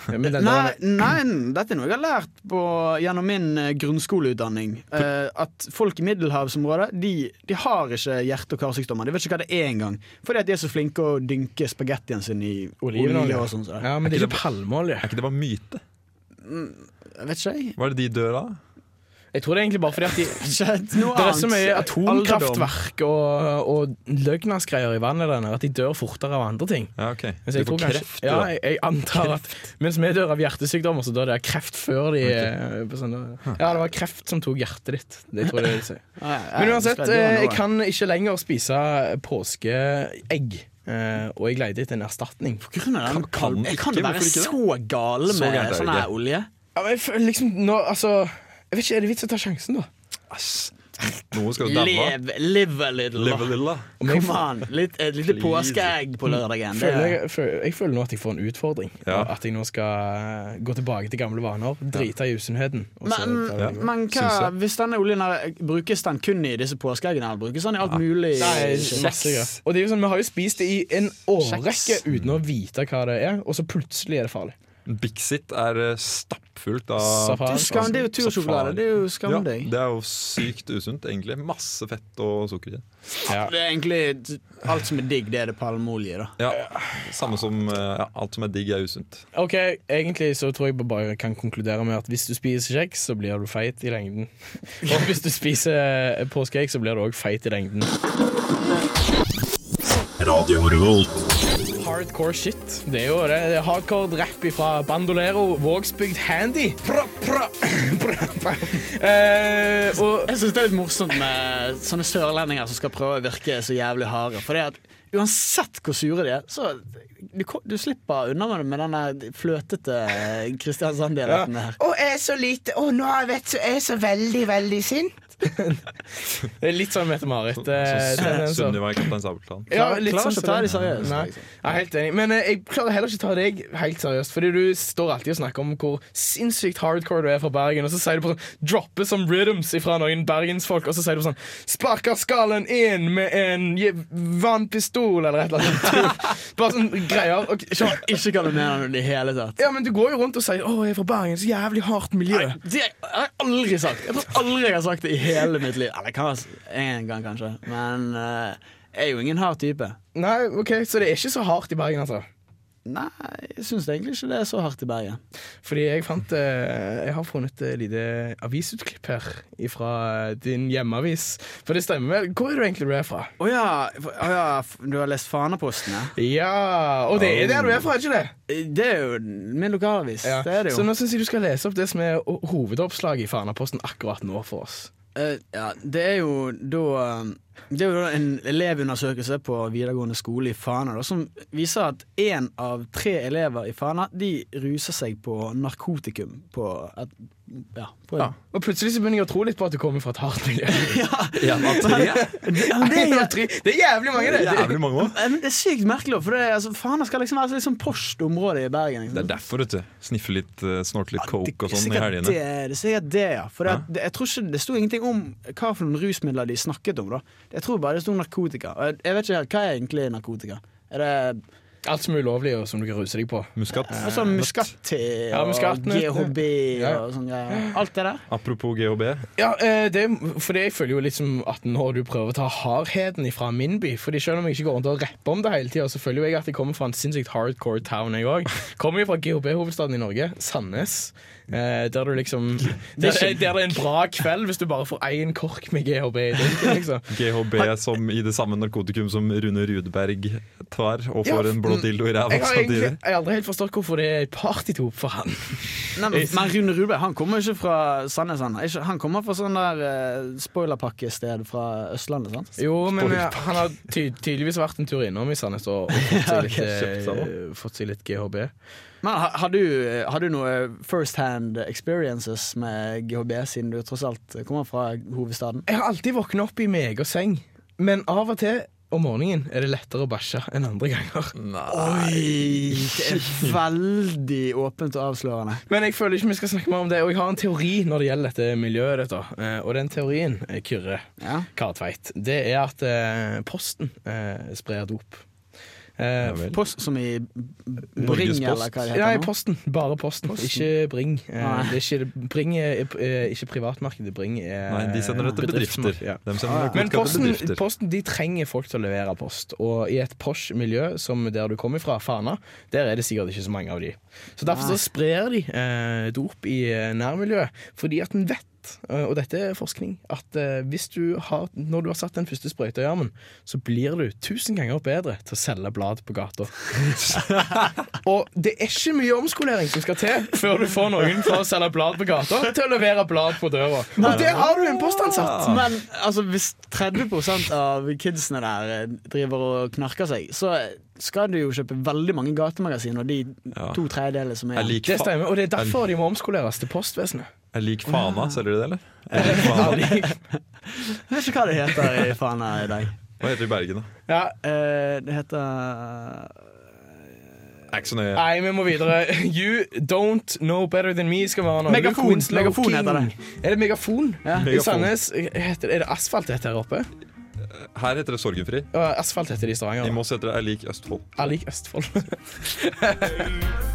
[SPEAKER 1] Eh, Med den
[SPEAKER 3] Nei,
[SPEAKER 1] der-
[SPEAKER 3] nei, dette er noe jeg har lært på, gjennom min eh, grunnskoleutdanning. Eh, at folk i middelhavsområdet De, de har ikke hjerte- og karsykdommer. De vet ikke hva det er engang. Fordi at de er så flinke å dynke spagettien sin i olje
[SPEAKER 1] Olivenolje.
[SPEAKER 3] og sånn. Så.
[SPEAKER 1] Ja, men det er
[SPEAKER 2] Er ikke
[SPEAKER 1] ikke palmeolje.
[SPEAKER 2] Er ikke det bare myte?
[SPEAKER 3] Jeg vet ikke, jeg.
[SPEAKER 2] Hva er det de dør av?
[SPEAKER 1] Jeg tror det er egentlig bare fordi at de
[SPEAKER 3] Shit, noe
[SPEAKER 1] det er
[SPEAKER 3] annet.
[SPEAKER 1] så mye
[SPEAKER 3] Alderdom.
[SPEAKER 1] atomkraftverk og, og løgnasgreier i vannet der nede at de dør fortere av andre ting.
[SPEAKER 2] Ja, ok.
[SPEAKER 1] Mens
[SPEAKER 2] De
[SPEAKER 1] jeg
[SPEAKER 2] får
[SPEAKER 1] tror kanskje-
[SPEAKER 2] kreft,
[SPEAKER 1] ja,
[SPEAKER 2] da.
[SPEAKER 1] jeg, jeg antar at Mens vi dør av hjertesykdommer, så dør det av kreft før de eh, på sånne, Ja, det var kreft som tok hjertet ditt. Det tror jeg det vil si.
[SPEAKER 3] Ja, ja,
[SPEAKER 1] Men
[SPEAKER 3] ja,
[SPEAKER 1] uansett,
[SPEAKER 3] skal dø
[SPEAKER 1] eh,
[SPEAKER 3] nå,
[SPEAKER 1] jeg
[SPEAKER 3] da.
[SPEAKER 1] kan ikke lenger spise påskeegg. eh, Og jeg leide etter en erstatning.
[SPEAKER 3] Grunn av den
[SPEAKER 2] Kan- kan
[SPEAKER 3] palme-
[SPEAKER 2] ikke,
[SPEAKER 3] kan det være
[SPEAKER 2] hvorfor ikke det?
[SPEAKER 3] så gale
[SPEAKER 2] Så
[SPEAKER 3] med
[SPEAKER 2] gærent er det
[SPEAKER 3] sånn her
[SPEAKER 2] ikke.
[SPEAKER 3] olje?
[SPEAKER 1] Ja, men jeg føler liksom nå, altså Jeg vet ikke, Er det vits å ta sjansen, da?
[SPEAKER 2] Æsj. Noen skal jo daue av.
[SPEAKER 3] Live, live a little.
[SPEAKER 2] Live a
[SPEAKER 3] da.
[SPEAKER 2] little, da.
[SPEAKER 1] Om jeg
[SPEAKER 3] Kom an. Litt, et lite
[SPEAKER 2] Please.
[SPEAKER 3] påskeegg på lørdagen. Det-
[SPEAKER 1] Føler jeg, føler, jeg føler nå at jeg får en utfordring.
[SPEAKER 2] Ja.
[SPEAKER 1] og At jeg nå skal eh, gå tilbake til gamle vaner, drite i usunnheten. og så
[SPEAKER 3] Men,
[SPEAKER 1] tar
[SPEAKER 2] Ja.
[SPEAKER 1] jeg-
[SPEAKER 3] men
[SPEAKER 2] Syns
[SPEAKER 3] hva,
[SPEAKER 2] jeg.
[SPEAKER 3] hvis denne oljen her, eh, brukes den kun i disse påskeeggene? Eller brukes den i alt mulig?
[SPEAKER 1] Nei, masse greier. Og det er jo sånn, Vi har jo spist det i en årrekke
[SPEAKER 3] Kjeks.
[SPEAKER 1] uten å vite hva det er, og så plutselig er det farlig.
[SPEAKER 2] Bixit er eh, stappfullt av
[SPEAKER 1] Safari.
[SPEAKER 3] Du skam, det er jo tursjokolade. Det er jo skam
[SPEAKER 2] Ja,
[SPEAKER 3] deg.
[SPEAKER 2] det er jo sykt usunt, egentlig. Masse fett og sukker i det.
[SPEAKER 3] Det er egentlig alt som er digg, det er det palmeolje, da.
[SPEAKER 2] Ja, Samme som eh, ja, alt som er digg, er usunt.
[SPEAKER 1] Ok, Egentlig så tror jeg bare jeg kan konkludere med at hvis du spiser kjeks, så blir du feit i lengden. Og hvis du spiser eh, påskeegg, så blir du òg feit i lengden. Hardcore shit. Det er jo det. det er hardcore rap fra Bandolero, Vågsbygd Handy. Pra, pra, pra, pra. Eh, og
[SPEAKER 3] Jeg synes det er litt morsomt med sånne sørlendinger som skal prøve å virke så jævlig harde. For det at uansett hvor sure de er, så du, ko- du slipper unna med det med den der fløtete eh, Kristiansand-dialekten her.
[SPEAKER 1] Å, jeg er så lite Å, nå har jeg vet så Jeg er så veldig, veldig sint. det er litt sånn Mette-Marit. eh,
[SPEAKER 2] Sånn
[SPEAKER 1] tendenser.
[SPEAKER 2] som Sunniva i Kaptein Sabeltann.
[SPEAKER 1] Ja,
[SPEAKER 3] Klarer-
[SPEAKER 1] litt
[SPEAKER 3] klarer ikke å
[SPEAKER 1] sånn som
[SPEAKER 3] ta
[SPEAKER 1] det.
[SPEAKER 3] de seriøst,
[SPEAKER 1] Nei.
[SPEAKER 3] liksom.
[SPEAKER 1] Jeg er helt enig. Men eh, jeg klarer heller ikke å ta deg helt seriøst. Fordi du står alltid og snakker om hvor sinnssykt hardcore du er fra Bergen, og så sier du på sånn Droppe som rhythms ifra noen bergensfolk, og så sier du på sånn Sparker skallen inn med en je- vannpistol, eller et eller annet. sånt. Bare sånn greier. Og,
[SPEAKER 3] Skjønner ikke hva du mener i det hele tatt.
[SPEAKER 1] ja, men du går jo rundt og sier 'Å, jeg er fra Bergen, så jævlig hardt miljø'.
[SPEAKER 3] Det har jeg aldri sagt. Jeg tror aldri jeg har sagt det i hele mitt liv. Eller det kan være en gang, kanskje. Men eh, jeg er jo ingen hard type.
[SPEAKER 1] Nei, ok, Så det er ikke så hardt i Bergen, altså?
[SPEAKER 3] Nei, jeg syns egentlig ikke det er så hardt i Bergen.
[SPEAKER 1] Fordi jeg fant eh, Jeg har funnet et lite avisutklipp her fra din hjemmeavis. For det stemmer vel? Hvor er du egentlig du er fra?
[SPEAKER 3] Å ja, for- å ja, f- du har lest Fanapostene?
[SPEAKER 1] Ja, Og det er der du er fra, er ikke det?
[SPEAKER 3] Eh, Det er jo min lokalavis.
[SPEAKER 1] Ja.
[SPEAKER 3] Det er det jo.
[SPEAKER 1] Så nå syns jeg du skal lese opp det som er ho- hovedoppslaget i Fanaposten akkurat nå for oss.
[SPEAKER 3] Eh, ja, det er jo da eh, Det er jo da en elevundersøkelse på videregående skole i Fana da, som viser at én av tre elever i Fana De ruser seg på narkotikum på et, Ja. På en,
[SPEAKER 1] Og plutselig så begynner jeg å tro litt på at du kommer fra et hardt miljø.
[SPEAKER 2] En av tre?
[SPEAKER 1] det, er tre- det er jævlig mange, det!
[SPEAKER 2] Jævlig mange òg.
[SPEAKER 3] Eh, Men det er sykt merkelig, for det er, altså, Fana skal liksom være et litt sånn post område i Bergen. Liksom.
[SPEAKER 2] Det er derfor, vet du. Sniffe litt, eh, snorte litt coke og
[SPEAKER 3] Det er
[SPEAKER 2] sånn i
[SPEAKER 3] sikkert
[SPEAKER 2] helgene.
[SPEAKER 3] Det, det er sikkert det, ja. For det, det, jeg tror ikke, det sto ingenting om hva for noen rusmidler de snakket om. da Jeg tror bare det sto narkotika. Og jeg, jeg vet ikke helt, Hva er egentlig narkotika? Er det
[SPEAKER 1] Alt som er ulovlig, og som du kan ruse deg på.
[SPEAKER 2] Muskat.
[SPEAKER 3] Og
[SPEAKER 1] altså,
[SPEAKER 3] sånn muskat-te
[SPEAKER 1] Ja, muskat,
[SPEAKER 3] og GHB
[SPEAKER 1] ja.
[SPEAKER 3] og sånn greier. Alt det der.
[SPEAKER 2] Apropos GHB.
[SPEAKER 1] Ja, eh, det, for jeg føler jo litt som at når du prøver å ta hardheten ifra min by Fordi selv om jeg ikke går rundt og rapper om det hele tida, så føler jo jeg at jeg kommer fra en sinnssykt hardcore town, jeg òg. Kommer jo fra GHB-hovedstaden i Norge, Sandnes. Eh, der du liksom der, er- der det er en bra kveld hvis du bare får én kork med GHB i drinken, liksom.
[SPEAKER 2] GHB som i det samme narkotikum som Rune Rudberg tar og
[SPEAKER 1] Ja, mm.
[SPEAKER 2] får en blå dildo i ræva
[SPEAKER 1] Jeg har egentlig
[SPEAKER 2] samtidig.
[SPEAKER 1] jeg har aldri helt forstått hvorfor det er partydop for han.
[SPEAKER 3] Nei, men, men Rune Rudberg han kommer ikke fra Sandnes. Han, Ikke- han kommer fra sånn der eh, spoilerpakkested fra Østlandet. sant?
[SPEAKER 1] Jo, men eh, han har ty tydeligvis vært en tur innom i Sandnes og og fått seg litt,
[SPEAKER 2] kjøpt seg
[SPEAKER 1] eh, fått seg litt GHB.
[SPEAKER 3] Men ha- har du, har du noe first hand experiences med GHB, siden du tross alt kommer fra hovedstaden?
[SPEAKER 1] Jeg har alltid våknet opp i min egen seng, men av og til om morgenen er det lettere å bæsje enn andre ganger.
[SPEAKER 3] Oi! Det er veldig åpent og avslørende.
[SPEAKER 1] Men jeg føler ikke vi skal snakke mer om det, og jeg har en teori når det gjelder dette miljøet. Dette. Eh, Og den teorien, eh, Kyrre
[SPEAKER 3] Ja.
[SPEAKER 1] Kartveit, det er at eh, Posten eh, sprer dop. Eh,
[SPEAKER 2] Ja vel.
[SPEAKER 3] Post som i Bring,
[SPEAKER 2] Norges
[SPEAKER 3] eller
[SPEAKER 2] Post.
[SPEAKER 3] hva det
[SPEAKER 1] Nei,
[SPEAKER 3] heter nå?
[SPEAKER 1] Posten. Bare Posten. Ikke Bring. Eh,
[SPEAKER 3] Nei.
[SPEAKER 1] det er ikke, bring er, er ikke privatmarkedet. Bring er
[SPEAKER 2] Nei, de sender det til bedrifter.
[SPEAKER 1] bedriftsmarked, ja.
[SPEAKER 2] De sender
[SPEAKER 3] Ah, ja.
[SPEAKER 1] Men
[SPEAKER 2] narkotika til
[SPEAKER 1] posten,
[SPEAKER 2] bedrifter.
[SPEAKER 1] posten de trenger folk til å levere post. Og i et Posh-miljø som der du kommer fra, Fana, der er det sikkert ikke så mange av de. Så derfor så sprer de eh, dop i eh, nærmiljøet, fordi at en vet, eh, og dette er forskning, at eh, hvis du har, når du har satt den første sprøyta i armen, så blir du tusen ganger bedre til å selge blad på gata. Og det er ikke mye omskolering som skal til før du får noen fra å selge blad på gata til å levere blad på døra. Og der har du en postansatt!
[SPEAKER 3] Men altså, hvis 30 av kidsene der eh, driver og knarker seg, så skal du jo kjøpe veldig mange gatemagasiner, og de
[SPEAKER 2] Ja.
[SPEAKER 3] to tredjedeler som er
[SPEAKER 2] Jeg liker
[SPEAKER 1] Det
[SPEAKER 2] fa
[SPEAKER 1] stemmer, og det er derfor de må omskoleres til postvesenet.
[SPEAKER 2] jeg liker
[SPEAKER 1] Mm.
[SPEAKER 2] Fana, selger de det, eller? Jeg liker fana.
[SPEAKER 3] Jeg vet ikke hva det heter i faen her i dag.
[SPEAKER 2] Hva heter det i Bergen, da?
[SPEAKER 1] Ja,
[SPEAKER 3] Eh, det heter
[SPEAKER 2] Er ikke så nøye.
[SPEAKER 1] Nei, vi må videre. You don't know better than me skal være noe.
[SPEAKER 3] Megafon.
[SPEAKER 1] Luke Winslow
[SPEAKER 3] Megafon
[SPEAKER 1] King.
[SPEAKER 3] heter det.
[SPEAKER 1] Er det megafon?
[SPEAKER 3] Ja.
[SPEAKER 1] I
[SPEAKER 2] Megafon.
[SPEAKER 1] Sandnes heter, Er det asfalt det heter her oppe?
[SPEAKER 2] Her heter det Sorgenfri.
[SPEAKER 1] Ja, Asfalt heter det i Stavanger.
[SPEAKER 2] I
[SPEAKER 1] da.
[SPEAKER 2] Moss heter det Jeg liker Østfold.
[SPEAKER 1] Jeg liker Østfold.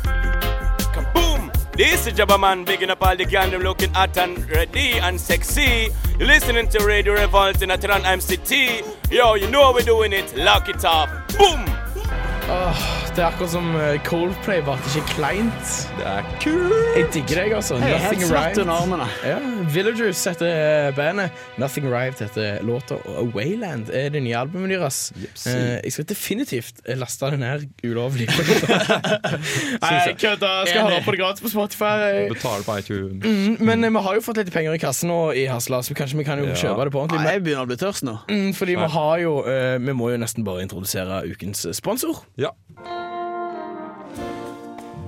[SPEAKER 7] Boom! This is Jabba Man bigging up all the gang them looking hot and ready and sexy. You're listening to Radio Revolt in Atran MCT. Yo, you know how we're doing it. Lock it up. Boom!
[SPEAKER 1] Åh, det er akkurat som eh, Coldplay var det ikke kleint.
[SPEAKER 2] Det er kult!
[SPEAKER 1] Jeg digger deg, altså.
[SPEAKER 3] Jeg er
[SPEAKER 1] Nothing
[SPEAKER 3] helt svett under
[SPEAKER 1] arrived.
[SPEAKER 3] armene.
[SPEAKER 1] Ja, Villagers heter eh, bandet. Nothing Arrived heter låta. Og Wayland er det nye albumet deres.
[SPEAKER 2] Jepsi.
[SPEAKER 1] Eh, jeg skal definitivt eh, laste den her ulovlig. Nei, jeg kødda. Skal høre på det gratis på Spotify.
[SPEAKER 2] Betaler på iTunes.
[SPEAKER 1] Men eh, vi har jo fått litt penger i kassen nå i Hasla, så kanskje vi kan jo
[SPEAKER 2] Ja.
[SPEAKER 1] kjøpe det på
[SPEAKER 3] Nei,
[SPEAKER 1] ordentlig. Men-
[SPEAKER 3] jeg begynner å bli tørst nå.
[SPEAKER 1] Mm, Fordi vi har jo eh, Vi må jo nesten bare introdusere ukens eh, sponsor.
[SPEAKER 2] Ja.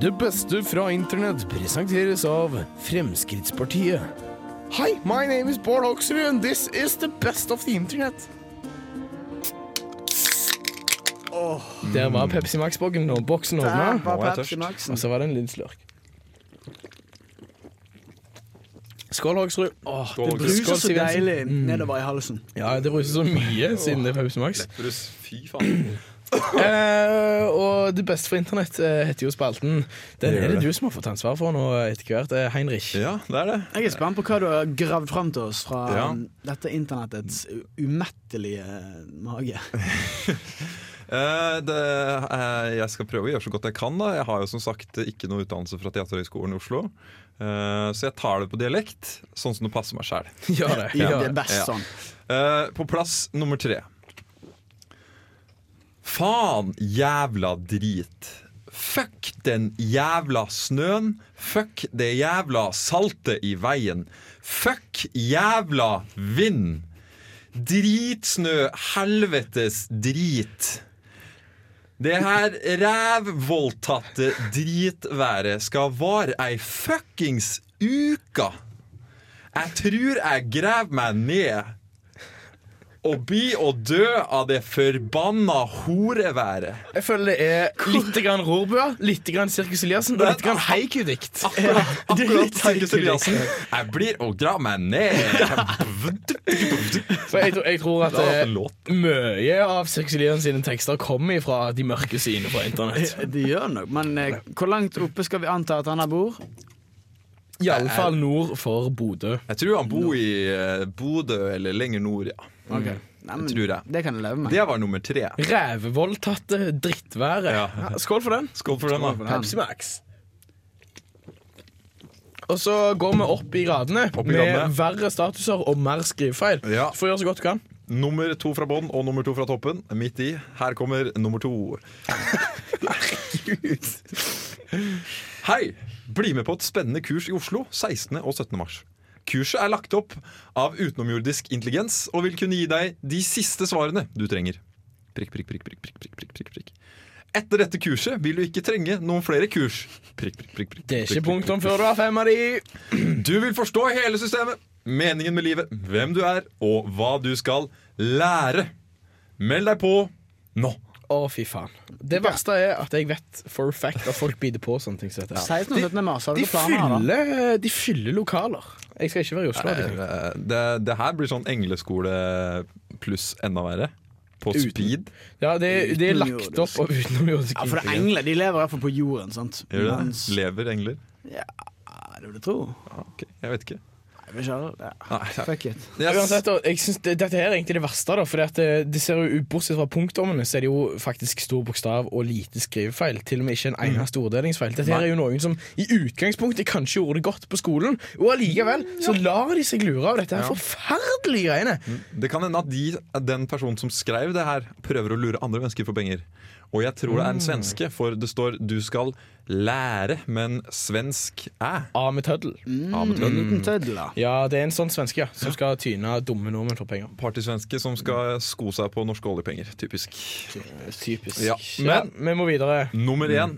[SPEAKER 1] Det beste fra internett presenteres av Fremskrittspartiet. Hi, my name is Bård Hoksrud, and this is the best of the internet. Der var Pepsi Max-boksen og boksen
[SPEAKER 3] Der
[SPEAKER 1] åpna.
[SPEAKER 3] var
[SPEAKER 2] nå er jeg tørst.
[SPEAKER 3] Pepsi
[SPEAKER 2] Altså,
[SPEAKER 3] Maxen.
[SPEAKER 1] Og så var det en liten slurk. Skål, Hoksrud. Åh,
[SPEAKER 2] Skål, Mm.
[SPEAKER 1] det
[SPEAKER 2] Hoksrud.
[SPEAKER 3] Bruser
[SPEAKER 1] bruser
[SPEAKER 3] så
[SPEAKER 1] Siv Jensen.
[SPEAKER 3] deilig nedover i halsen.
[SPEAKER 1] Ja, det bruser så mye siden det er Pepsi Max.
[SPEAKER 2] Letbrus. Fy faen.
[SPEAKER 1] Eh, og det beste for internett eh, heter jo spalten. Den
[SPEAKER 2] Det gjør
[SPEAKER 1] er det
[SPEAKER 2] det.
[SPEAKER 1] du som har fått ansvar for nå etter hvert, eh, Heinrich.
[SPEAKER 2] Ja, det er det.
[SPEAKER 3] Jeg er spent på hva du har gravd fram til oss fra
[SPEAKER 2] Ja.
[SPEAKER 3] um, dette internettets u- umettelige uh, mage.
[SPEAKER 2] Eh, det, eh, jeg skal prøve å gjøre så godt jeg kan. da Jeg har jo som sagt ikke noe utdannelse fra Teaterhøgskolen i Oslo. Eh, så jeg tar det på dialekt, sånn som det passer meg sjæl.
[SPEAKER 1] Gjør det.
[SPEAKER 3] Ja,
[SPEAKER 1] Gjør
[SPEAKER 3] det er
[SPEAKER 1] det.
[SPEAKER 3] best
[SPEAKER 2] Ja.
[SPEAKER 3] sånn.
[SPEAKER 2] Eh, på plass nummer tre. Faen jævla drit. Fuck den jævla snøen. Fuck det jævla saltet i veien. Fuck jævla vind. Dritsnø, helvetes drit. Det her rævvoldtatte dritværet skal vare ei fuckings uke. Jeg trur jeg graver meg ned. å bli og dø av det forbanna horeværet.
[SPEAKER 1] Jeg føler det er litt grann Rorbua, litt grann Sirkus Eliassen og litt grann Haiku-dikt.
[SPEAKER 2] Akkurat, akkurat Terje
[SPEAKER 1] Sirkus Eliassen.
[SPEAKER 2] Eliassen. Jeg blir å dra meg ned.
[SPEAKER 1] For jeg, tror- jeg tror at
[SPEAKER 2] Det var en
[SPEAKER 1] eh,
[SPEAKER 2] låt.
[SPEAKER 1] mye av Sirkus Eliassen sine tekster kommer fra de mørke sidene på internett.
[SPEAKER 3] Det gjør nok, men eh, hvor langt oppe skal vi anta at han her bor?
[SPEAKER 1] Iallfall nord for Bodø.
[SPEAKER 2] Jeg tror han bor i eh, Bodø eller lenger nord, ja.
[SPEAKER 3] Nei, men,
[SPEAKER 2] Det tror jeg.
[SPEAKER 3] Det kan jeg leve med.
[SPEAKER 2] Det var nummer tre.
[SPEAKER 1] Rævevoldtatte drittværet.
[SPEAKER 2] Ja.
[SPEAKER 1] Skål for den.
[SPEAKER 2] Skål for den, da.
[SPEAKER 1] Pepsi Max. Og så går vi opp i gradene
[SPEAKER 2] Opp i
[SPEAKER 1] med
[SPEAKER 2] gradene.
[SPEAKER 1] verre statuser og mer skrivefeil.
[SPEAKER 2] Ja.
[SPEAKER 1] Du får gjøre så godt du kan.
[SPEAKER 2] Nummer to fra bånn og nummer to fra toppen. Midt i. Her kommer nummer to. Hei! Bli med på et spennende kurs i Oslo 16. og 17. mars. Kurset er lagt opp av utenomjordisk intelligens og vil kunne gi deg de siste svarene du trenger. Prikk, prikk, prikk, prikk, prikk, prikk, prikk, prikk, prikk. Etter dette kurset vil du ikke trenge noen flere kurs. Prikk, prikk, prikk, prikk,
[SPEAKER 1] Det er
[SPEAKER 2] prikk,
[SPEAKER 1] ikke
[SPEAKER 2] prikk,
[SPEAKER 1] punktum før du har fem av de.
[SPEAKER 2] du vil forstå hele systemet, meningen med livet, hvem du er og hva du skal lære. Meld deg på nå.
[SPEAKER 1] Å, fy faen. Det verste er at jeg vet for a fact at folk biter på sånne ting. som dette her.
[SPEAKER 3] 16. og 17. mars, har du
[SPEAKER 1] De
[SPEAKER 3] noen planer her, da?
[SPEAKER 1] fyller, de fyller lokaler. Jeg skal ikke være i Oslo. hadde jeg tenkt.
[SPEAKER 2] Det, det her blir sånn engleskole pluss enda verre. På
[SPEAKER 1] Uten.
[SPEAKER 2] speed.
[SPEAKER 1] Ja, det, det er
[SPEAKER 3] Utenomjordisk.
[SPEAKER 1] lagt opp av utenomjordisk
[SPEAKER 3] Ja, for det er
[SPEAKER 1] intelligens.
[SPEAKER 3] engler de lever i hvert fall på jorden, sant?
[SPEAKER 2] Gjør det?
[SPEAKER 3] Mens-
[SPEAKER 2] Lever engler?
[SPEAKER 3] Ja, det vil jeg tro.
[SPEAKER 2] Ja, ok, Jeg vet ikke.
[SPEAKER 3] Jeg vil ikke ha det. Ja.
[SPEAKER 2] Nei, ja.
[SPEAKER 3] Fuck it.
[SPEAKER 2] Yes.
[SPEAKER 1] Uansett, da, jeg synes det, Dette her er egentlig det verste, da, for det, det ser jo, bortsett fra punktommene, så er det jo faktisk stor bokstav og lite skrivefeil. Til og med ikke en
[SPEAKER 3] Mm.
[SPEAKER 1] eneste orddelingsfeil. Dette her er jo noen som i utgangspunktet kanskje gjorde det godt på skolen, og allikevel
[SPEAKER 3] Mm,
[SPEAKER 1] så lar de seg lure av dette her forferdelige greiene.
[SPEAKER 2] Det kan hende at de, den personen som skrev det her, prøver å lure andre mennesker for penger. Og jeg tror det er en svenske, for det står 'du skal lære', men svensk æ.
[SPEAKER 1] Av med tøddel.
[SPEAKER 2] Ja, men
[SPEAKER 3] En liten tøddel, da.
[SPEAKER 1] Ja, det er en sånn svenske ja, som skal tyne dumme nordmenn for penger.
[SPEAKER 2] Partysvenske som skal
[SPEAKER 1] Mm.
[SPEAKER 2] sko seg på norske oljepenger. Typisk.
[SPEAKER 1] Typisk.
[SPEAKER 2] Ja.
[SPEAKER 1] Men vi må videre.
[SPEAKER 2] Nummer
[SPEAKER 1] Mm.
[SPEAKER 2] én.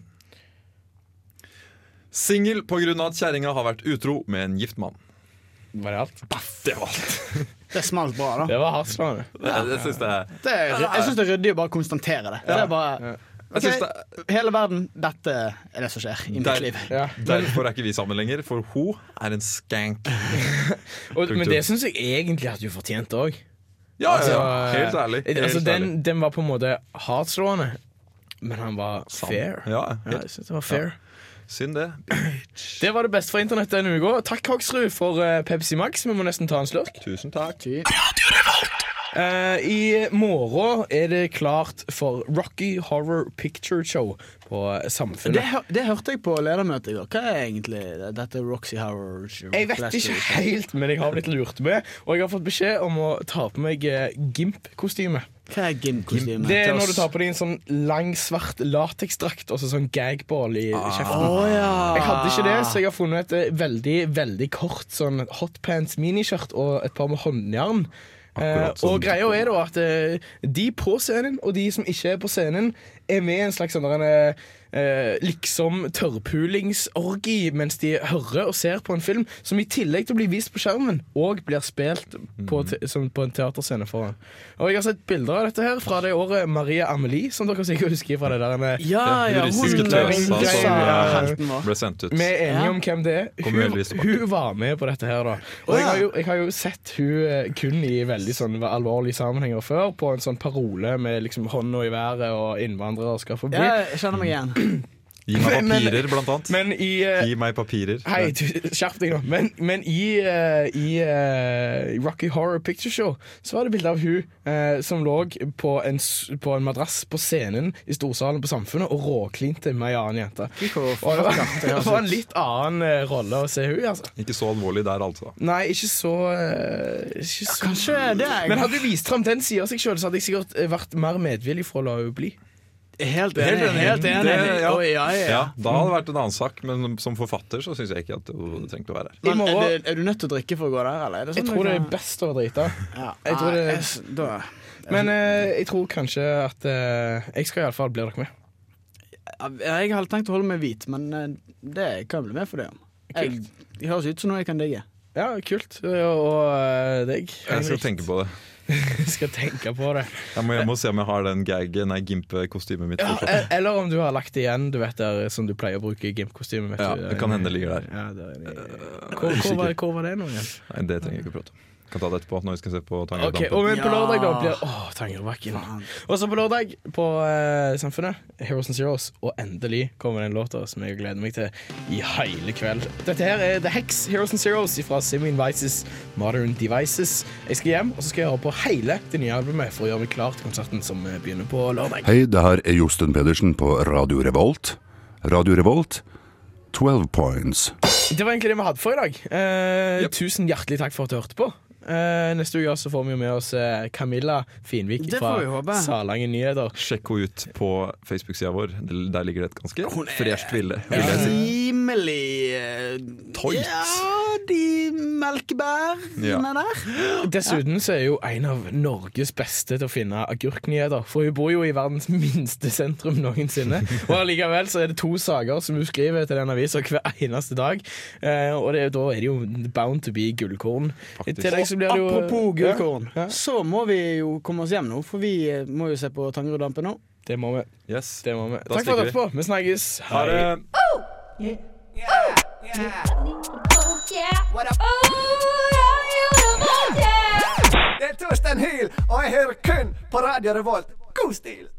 [SPEAKER 2] Singel pga. at kjerringa har vært utro med en gift mann.
[SPEAKER 1] Var det alt?
[SPEAKER 2] Det var alt.
[SPEAKER 3] Det smalt bra, da.
[SPEAKER 1] Det var hardtslående.
[SPEAKER 2] Det, det syns jeg.
[SPEAKER 3] Det er, jeg syns det er ryddig å bare konstatere det. Det er bare
[SPEAKER 2] Jeg synes
[SPEAKER 3] ok, Hele verden, dette er det som skjer i mitt
[SPEAKER 2] Der-
[SPEAKER 3] liv.
[SPEAKER 1] Ja.
[SPEAKER 2] Derfor er ikke vi sammen lenger, for hun er en skank.
[SPEAKER 1] Og, men
[SPEAKER 2] Punktum.
[SPEAKER 1] det syns jeg egentlig at du fortjente òg.
[SPEAKER 2] Ja,
[SPEAKER 1] Altså,
[SPEAKER 2] ja, ja. Helt ærlig. Helt
[SPEAKER 1] altså,
[SPEAKER 2] ærlig.
[SPEAKER 1] den, den var på en måte hardtslående, men han var fair.
[SPEAKER 2] Ja,
[SPEAKER 1] Ja,
[SPEAKER 2] helt
[SPEAKER 1] jeg synes det var fair.
[SPEAKER 2] Synd det.
[SPEAKER 1] Det var det beste fra internett denne uka. Takk, Hoksrud, for eh, Pepsi Max. Vi må nesten ta en slurk.
[SPEAKER 2] Tusen takk.
[SPEAKER 1] Eh, I morgen er det klart for Rocky Horror Picture Show på
[SPEAKER 3] Det,
[SPEAKER 1] Samfunnet.
[SPEAKER 3] hø- det hørte jeg på ledermøtet i går. Hva er egentlig det- dette Roxy Howard
[SPEAKER 1] Jeg vet ikke helt, men jeg har blitt lurt med. Og jeg har fått beskjed om å ta på meg eh, Gimp-kostyme.
[SPEAKER 3] Hva er gymkostyme?
[SPEAKER 1] Det er når du tar på deg en sånn lang, svart lateksdrakt og så sånn gagball i kjeften.
[SPEAKER 3] Å ja.
[SPEAKER 1] Jeg hadde ikke det, så jeg har funnet et eh, veldig veldig kort sånn hotpants miniskjørt og et par med håndjern. Eh,
[SPEAKER 2] Akkurat sånn.
[SPEAKER 1] og greia er da at eh, de på scenen og de som ikke er på scenen, er med i en slags sånn der en, eh, liksom tørrpulingsorgi mens de hører og ser på en film som i tillegg til å bli vist på skjermen, òg blir spilt på, te som på en teaterscene foran. Og jeg har sett bilder av dette her fra det året Maria Amelie, som dere sikkert husker fra det der eh, med
[SPEAKER 3] Ja, ja,
[SPEAKER 2] Den
[SPEAKER 3] hun
[SPEAKER 2] russiske tøsa
[SPEAKER 1] Greia-
[SPEAKER 2] som eh,
[SPEAKER 3] helten vår.
[SPEAKER 2] ble sendt ut.
[SPEAKER 1] vi er enige
[SPEAKER 3] Ja.
[SPEAKER 1] om hvem det er.
[SPEAKER 2] Kommer
[SPEAKER 1] Hun,
[SPEAKER 2] heldigvis tilbake.
[SPEAKER 1] hun var med på dette her, da. Og jeg har jo, jeg har jo sett hun eh, kun i veldig sånn alvorlige sammenhenger før, på en sånn parole med liksom hånda i været og innvandrere skal få bli.
[SPEAKER 3] Ja, jeg kjenner meg igjen.
[SPEAKER 2] Gi meg
[SPEAKER 1] Men- men-
[SPEAKER 2] papirer, blant annet.
[SPEAKER 1] Men i eh,
[SPEAKER 2] Gi meg papirer.
[SPEAKER 1] Hei, du, skjerp deg nå. Men, men i, eh, i eh, Rocky Horror Picture Show så var det bilde av hun eh, som lå på en, s- på en madrass på scenen i storsalen på Samfunnet og råklinte med ei annen jente.
[SPEAKER 3] Fy, hvor
[SPEAKER 1] Og det var,
[SPEAKER 3] fucked det altså.
[SPEAKER 1] det
[SPEAKER 3] høres
[SPEAKER 1] var en
[SPEAKER 3] ut.
[SPEAKER 1] litt annen eh, rolle å se hun i, altså.
[SPEAKER 2] Ikke så alvorlig der, altså.
[SPEAKER 1] Nei, ikke så, eh, ikke så.
[SPEAKER 3] Kanskje det er
[SPEAKER 1] Men hadde du vist fram den sida av seg sjøl, så hadde jeg sikkert eh, vært mer medvillig for å la henne bli.
[SPEAKER 3] Helt
[SPEAKER 2] Helt
[SPEAKER 3] enig.
[SPEAKER 2] enig.
[SPEAKER 3] Helt enig.
[SPEAKER 2] Det- ja.
[SPEAKER 3] Oi, ja, ja.
[SPEAKER 2] Ja, Da hadde det vært en annen sak, men som forfatter så syns jeg ikke at hun trengte å være her.
[SPEAKER 1] I
[SPEAKER 3] Men er,
[SPEAKER 1] morgen-
[SPEAKER 3] det, er du nødt til å drikke for å gå der, eller? Er det sånn
[SPEAKER 1] Jeg tror det er
[SPEAKER 3] kan-
[SPEAKER 1] best å drite.
[SPEAKER 3] ja.
[SPEAKER 1] jeg tror det-
[SPEAKER 3] Nei, jeg s- da,
[SPEAKER 1] Men eh, jeg tror kanskje at eh, Jeg skal iallfall bli dere med.
[SPEAKER 3] ja, Jeg hadde tenkt å holde meg hvit, men eh, det kan jeg bli med for det om. Jeg, det høres ut som noe jeg kan digge.
[SPEAKER 1] Ja, kult. Og, og eh, deg.
[SPEAKER 2] Jeg skal
[SPEAKER 1] Henrik.
[SPEAKER 2] tenke på det.
[SPEAKER 8] skal tenke på det.
[SPEAKER 2] Jeg må hjem og se om jeg har den gag, nei, gimp-kostymet mitt.
[SPEAKER 8] Ja,
[SPEAKER 2] fortsatt.
[SPEAKER 3] eh,
[SPEAKER 8] e- eller om du har lagt det igjen, du vet der som du pleier å bruke i Gimp-kostyme. vet
[SPEAKER 2] Ja,
[SPEAKER 8] du,
[SPEAKER 2] det kan hende det ligger der.
[SPEAKER 8] Ja, der inne i- hvor, hvor, var, hvor var det nå igjen?
[SPEAKER 2] Nei, det trenger jeg ikke prate om. Kan ta det etterpå når vi skal se på
[SPEAKER 8] Ok,
[SPEAKER 2] Tangerdampen.
[SPEAKER 8] og men på
[SPEAKER 3] Ja.
[SPEAKER 8] lørdag da blir Åh, Tangerudbakken. Og så på lørdag på eh, Samfunnet, Heroes and Zeros, og endelig kommer den låta som jeg gleder meg til i hele kveld. Dette her er The Hex, Heroes and Zeros fra Simeon Vices Modern Devices. Jeg skal hjem, og så skal jeg høre på hele det nye albumet for å gjøre meg klar til konserten som eh, begynner på lørdag.
[SPEAKER 7] Hei, det her er Josten Pedersen på Radio Revolt. Radio Revolt, 12 points.
[SPEAKER 8] Det var egentlig det vi hadde for i dag. Eh, Tusen hjertelig takk for at du hørte på. Eh, neste uke så får vi jo med oss eh, Camilla Finvik
[SPEAKER 3] Det får vi
[SPEAKER 8] fra
[SPEAKER 3] håpe.
[SPEAKER 8] Salangen Nyheter.
[SPEAKER 2] Sjekk henne ut på Facebook-sida vår. Der ligger det et ganske fresht bilde.
[SPEAKER 8] Ja.
[SPEAKER 2] bilde.
[SPEAKER 3] Rimelig eh,
[SPEAKER 2] Toit.
[SPEAKER 3] Ja, de melkebærene
[SPEAKER 2] Ja.
[SPEAKER 3] der.
[SPEAKER 8] Dessuten så er jo en av Norges beste til å finne agurknyheter. For hun bor jo i verdens minste sentrum noensinne. Og allikevel så er det to saker som hun skriver til den avisa hver eneste dag. Eh, og det, da er det jo bound to be gullkorn. I
[SPEAKER 2] Faktisk.
[SPEAKER 8] tillegg så blir det jo
[SPEAKER 3] Apropos gullkorn,
[SPEAKER 8] Ja, ja.
[SPEAKER 3] så må vi jo komme oss hjem nå, for vi eh, må jo se på Tangeruddampen nå.
[SPEAKER 8] Det må vi.
[SPEAKER 2] Yes.
[SPEAKER 8] Det må vi.
[SPEAKER 2] Da
[SPEAKER 8] Takk for at du
[SPEAKER 2] stikker
[SPEAKER 8] hørte på. Vi snakkes.
[SPEAKER 2] Ha det!
[SPEAKER 5] Det er Torstein Hyl, og jeg hører kun på Radio Revolt. God stil!